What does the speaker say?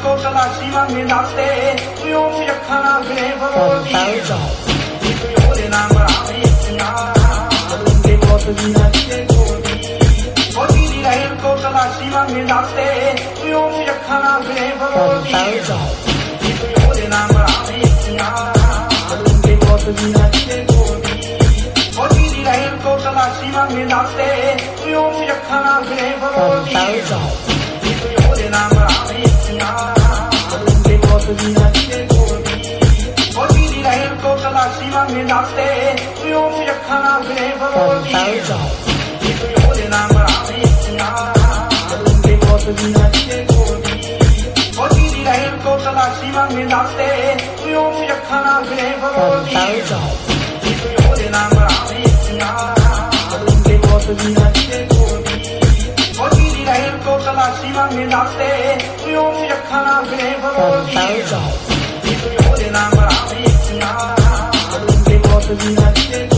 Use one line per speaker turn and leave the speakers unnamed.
सदाशिवाने दाते तुयों शखना गृह हाँ।
Cantauta.
तुयोरे नाम रामे सुना तुमके बहुत दिना के कोनी ओ तेरी लहर को सदाशिवाने दाते तुयों शखना गृह हाँ।
Cantauta.
तुयोरे नाम रामे सुना तुमके बहुत दिना के कोनी ओ तेरी लहर को सदाशिवाने दाते तुयों शखना गृह
Cantauta.
तुयोरे नाम रामे सुना
Donde vos miraste por mí.
Modi लहर को सदा शिवा में डालते तुयों से रखना गृह
Cantauta.
भगवती नाम रामे Siya
Donde vos miraste por mí.
Modi लहर को सदा शिवा में डालते तुयों से रखना गृह भगवती
Cantauta.
नाम रामे Siya
Donde vos miraste por mí.
Modi लहर को सदा शिवा में डालते तुयों से रखना गृह भगवती
Cantauta.
नाम रामे सिया
Donde vos miraste